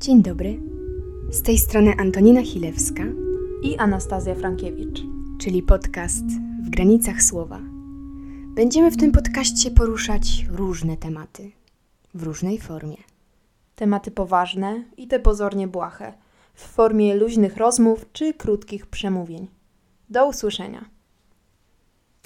Dzień dobry. Z tej strony Antonina Chilewska, i Anastazja Frankiewicz. czyli podcast W granicach słowa. Będziemy w tym podcaście poruszać różne tematy w różnej formie. Tematy poważne i te pozornie błahe, w formie luźnych rozmów czy krótkich przemówień. Do usłyszenia.